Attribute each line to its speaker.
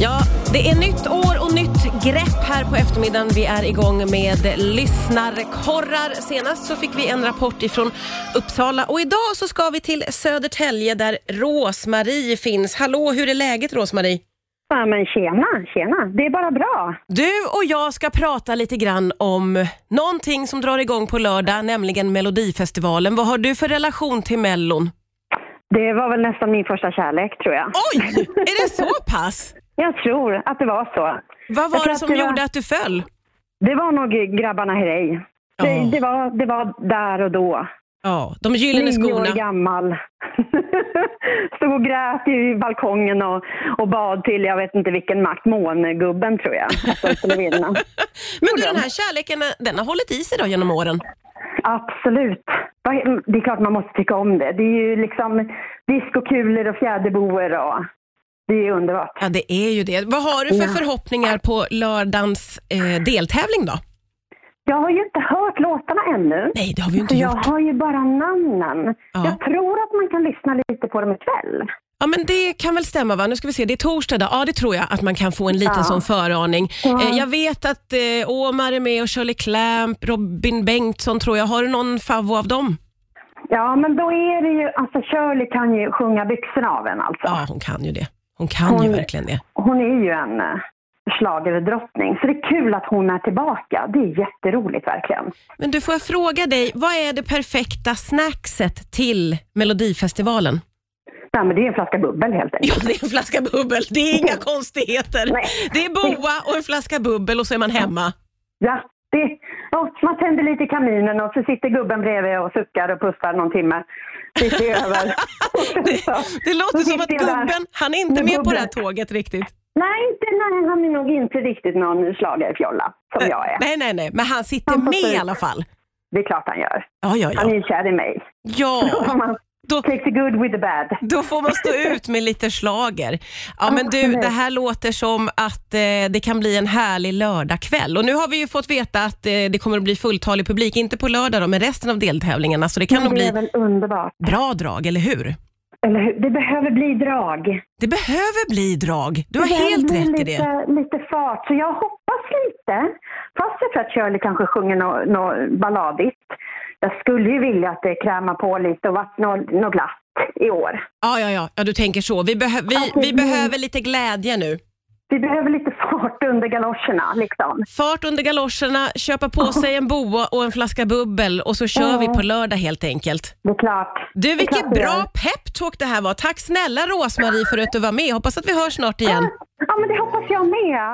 Speaker 1: Ja, det är nytt år och nytt grepp här på eftermiddagen. Vi är igång med lyssnarkorrar. Senast så fick vi en rapport ifrån Uppsala och idag så ska vi till Södertälje där Rosmarie finns. Hallå, hur är läget Rosmarie?
Speaker 2: Ja, men tjena, tjena. Det är bara bra.
Speaker 1: Du och jag ska prata lite grann om någonting som drar igång på lördag, nämligen Melodifestivalen. Vad har du för relation till Mellon?
Speaker 2: Det var väl nästan min första kärlek, tror jag.
Speaker 1: Oj, är det så pass?
Speaker 2: Jag tror att det var så.
Speaker 1: Vad
Speaker 2: Jag
Speaker 1: var
Speaker 2: tror
Speaker 1: det
Speaker 2: att
Speaker 1: som
Speaker 2: det var-
Speaker 1: gjorde att du föll?
Speaker 2: Det var nog grabbarna Herrey.
Speaker 1: Ja.
Speaker 2: Det, det, var, det var där och då.
Speaker 1: Ja, de gyllene
Speaker 2: Nio år
Speaker 1: skorna.
Speaker 2: gammal. Stod och grät i balkongen och, och bad till, jag vet inte vilken makt, mångubben tror jag att de skulle vinna.
Speaker 1: Men du, den här kärleken, den har hållit i sig då genom åren?
Speaker 2: Absolut. Vad- Det är klart man måste tycka om det. Det är ju liksom diskokulor och fjäderboer och det är underbart.
Speaker 1: Ja, det är ju det. Vad har du för
Speaker 2: Ja.
Speaker 1: förhoppningar på lördagens eh, deltävling då?
Speaker 2: Jag har ju inte hört låtarna ännu.
Speaker 1: Nej, det har vi ju inte
Speaker 2: Så jag
Speaker 1: gjort.
Speaker 2: har ju bara namnen.
Speaker 1: Ja.
Speaker 2: Jag tror att man kan lyssna lite på dem ikväll.
Speaker 1: Ja, men det kan väl stämma va? Nu ska vi se, det är torsdag idag. Ja, det tror jag att man kan få en liten
Speaker 2: Ja.
Speaker 1: sån föraning.
Speaker 2: Ja.
Speaker 1: Eh, jag vet att eh, Omar är med och Shirley Clamp, Robin Bengtsson tror jag. Har du någon favvo av dem?
Speaker 2: Ja, men då är det ju, alltså Shirley kan ju sjunga byxorna av en alltså.
Speaker 1: Ja, hon kan ju det. Hon kan ju
Speaker 2: Hon-
Speaker 1: verkligen det.
Speaker 2: Hon är ju en eh, schlagerdrottning, så det är kul att hon är tillbaka. Det är jätteroligt verkligen.
Speaker 1: Men du, får jag fråga dig, vad är det perfekta snackset till Melodifestivalen?
Speaker 2: Nej, men det är en flaska bubbel helt enkelt.
Speaker 1: Ja, det är en flaska bubbel. Det är inga konstigheter.
Speaker 2: Oh. Nej.
Speaker 1: Det är boa och en flaska bubbel och så är man hemma.
Speaker 2: Ja, det, ja, man tänder lite i kaminen och så sitter gubben bredvid och suckar och pussar någon timme. Tills det är över. Så.
Speaker 1: Det låter
Speaker 2: Då
Speaker 1: som att
Speaker 2: sitter jag där.
Speaker 1: gubben, han är inte
Speaker 2: Med
Speaker 1: med på
Speaker 2: bubbel.
Speaker 1: det här tåget riktigt.
Speaker 2: Nej, inte, nej, han är nog inte riktigt någon schlagerfjolla som jag är.
Speaker 1: Nej, nej, nej, men han sitter
Speaker 2: Han får
Speaker 1: med
Speaker 2: se.
Speaker 1: i alla fall.
Speaker 2: Det är klart han gör.
Speaker 1: Ja, ja,
Speaker 2: Han är
Speaker 1: ja.
Speaker 2: ju kär i mig.
Speaker 1: ja.
Speaker 2: Man
Speaker 1: Då,
Speaker 2: Take the good with the bad.
Speaker 1: då får man stå ut med lite slager. Ja, men du,
Speaker 2: Absolut.
Speaker 1: det här låter som att eh, det kan bli en härlig lördagkväll. Och nu har vi ju fått veta att eh, det kommer att bli fulltalig publik, inte på lördag då, men resten av deltävlingarna, så det kan nog
Speaker 2: Det är
Speaker 1: bli
Speaker 2: väl underbart.
Speaker 1: bra drag, eller hur?
Speaker 2: Eller hur? Det behöver bli drag.
Speaker 1: Det behöver bli drag. Du har
Speaker 2: behöver
Speaker 1: helt
Speaker 2: bli
Speaker 1: rätt i
Speaker 2: lite,
Speaker 1: det.
Speaker 2: Lite fart. Så jag hoppas lite. Fast jag tror att Shirley kanske sjunger något nå balladigt. Jag skulle ju vilja att det krämar på lite och varit något nå glatt i år.
Speaker 1: Ja, ja, ja, ja du tänker så. Vi, behö- vi,
Speaker 2: Alltså,
Speaker 1: vi
Speaker 2: det-
Speaker 1: behöver lite glädje nu.
Speaker 2: Vi behöver lite fart under galoscherna liksom.
Speaker 1: Fart under galoscherna, köpa på sig en boa och en flaska bubbel och så kör
Speaker 2: Ja.
Speaker 1: vi på lördag helt enkelt.
Speaker 2: Det är klart.
Speaker 1: Du,
Speaker 2: Det är
Speaker 1: vilket
Speaker 2: klart vi
Speaker 1: bra
Speaker 2: gör.
Speaker 1: peptalk det här var. Tack snälla Rosmarie för att du var med. Hoppas att vi hörs snart igen.
Speaker 2: Ja, men det hoppas jag med.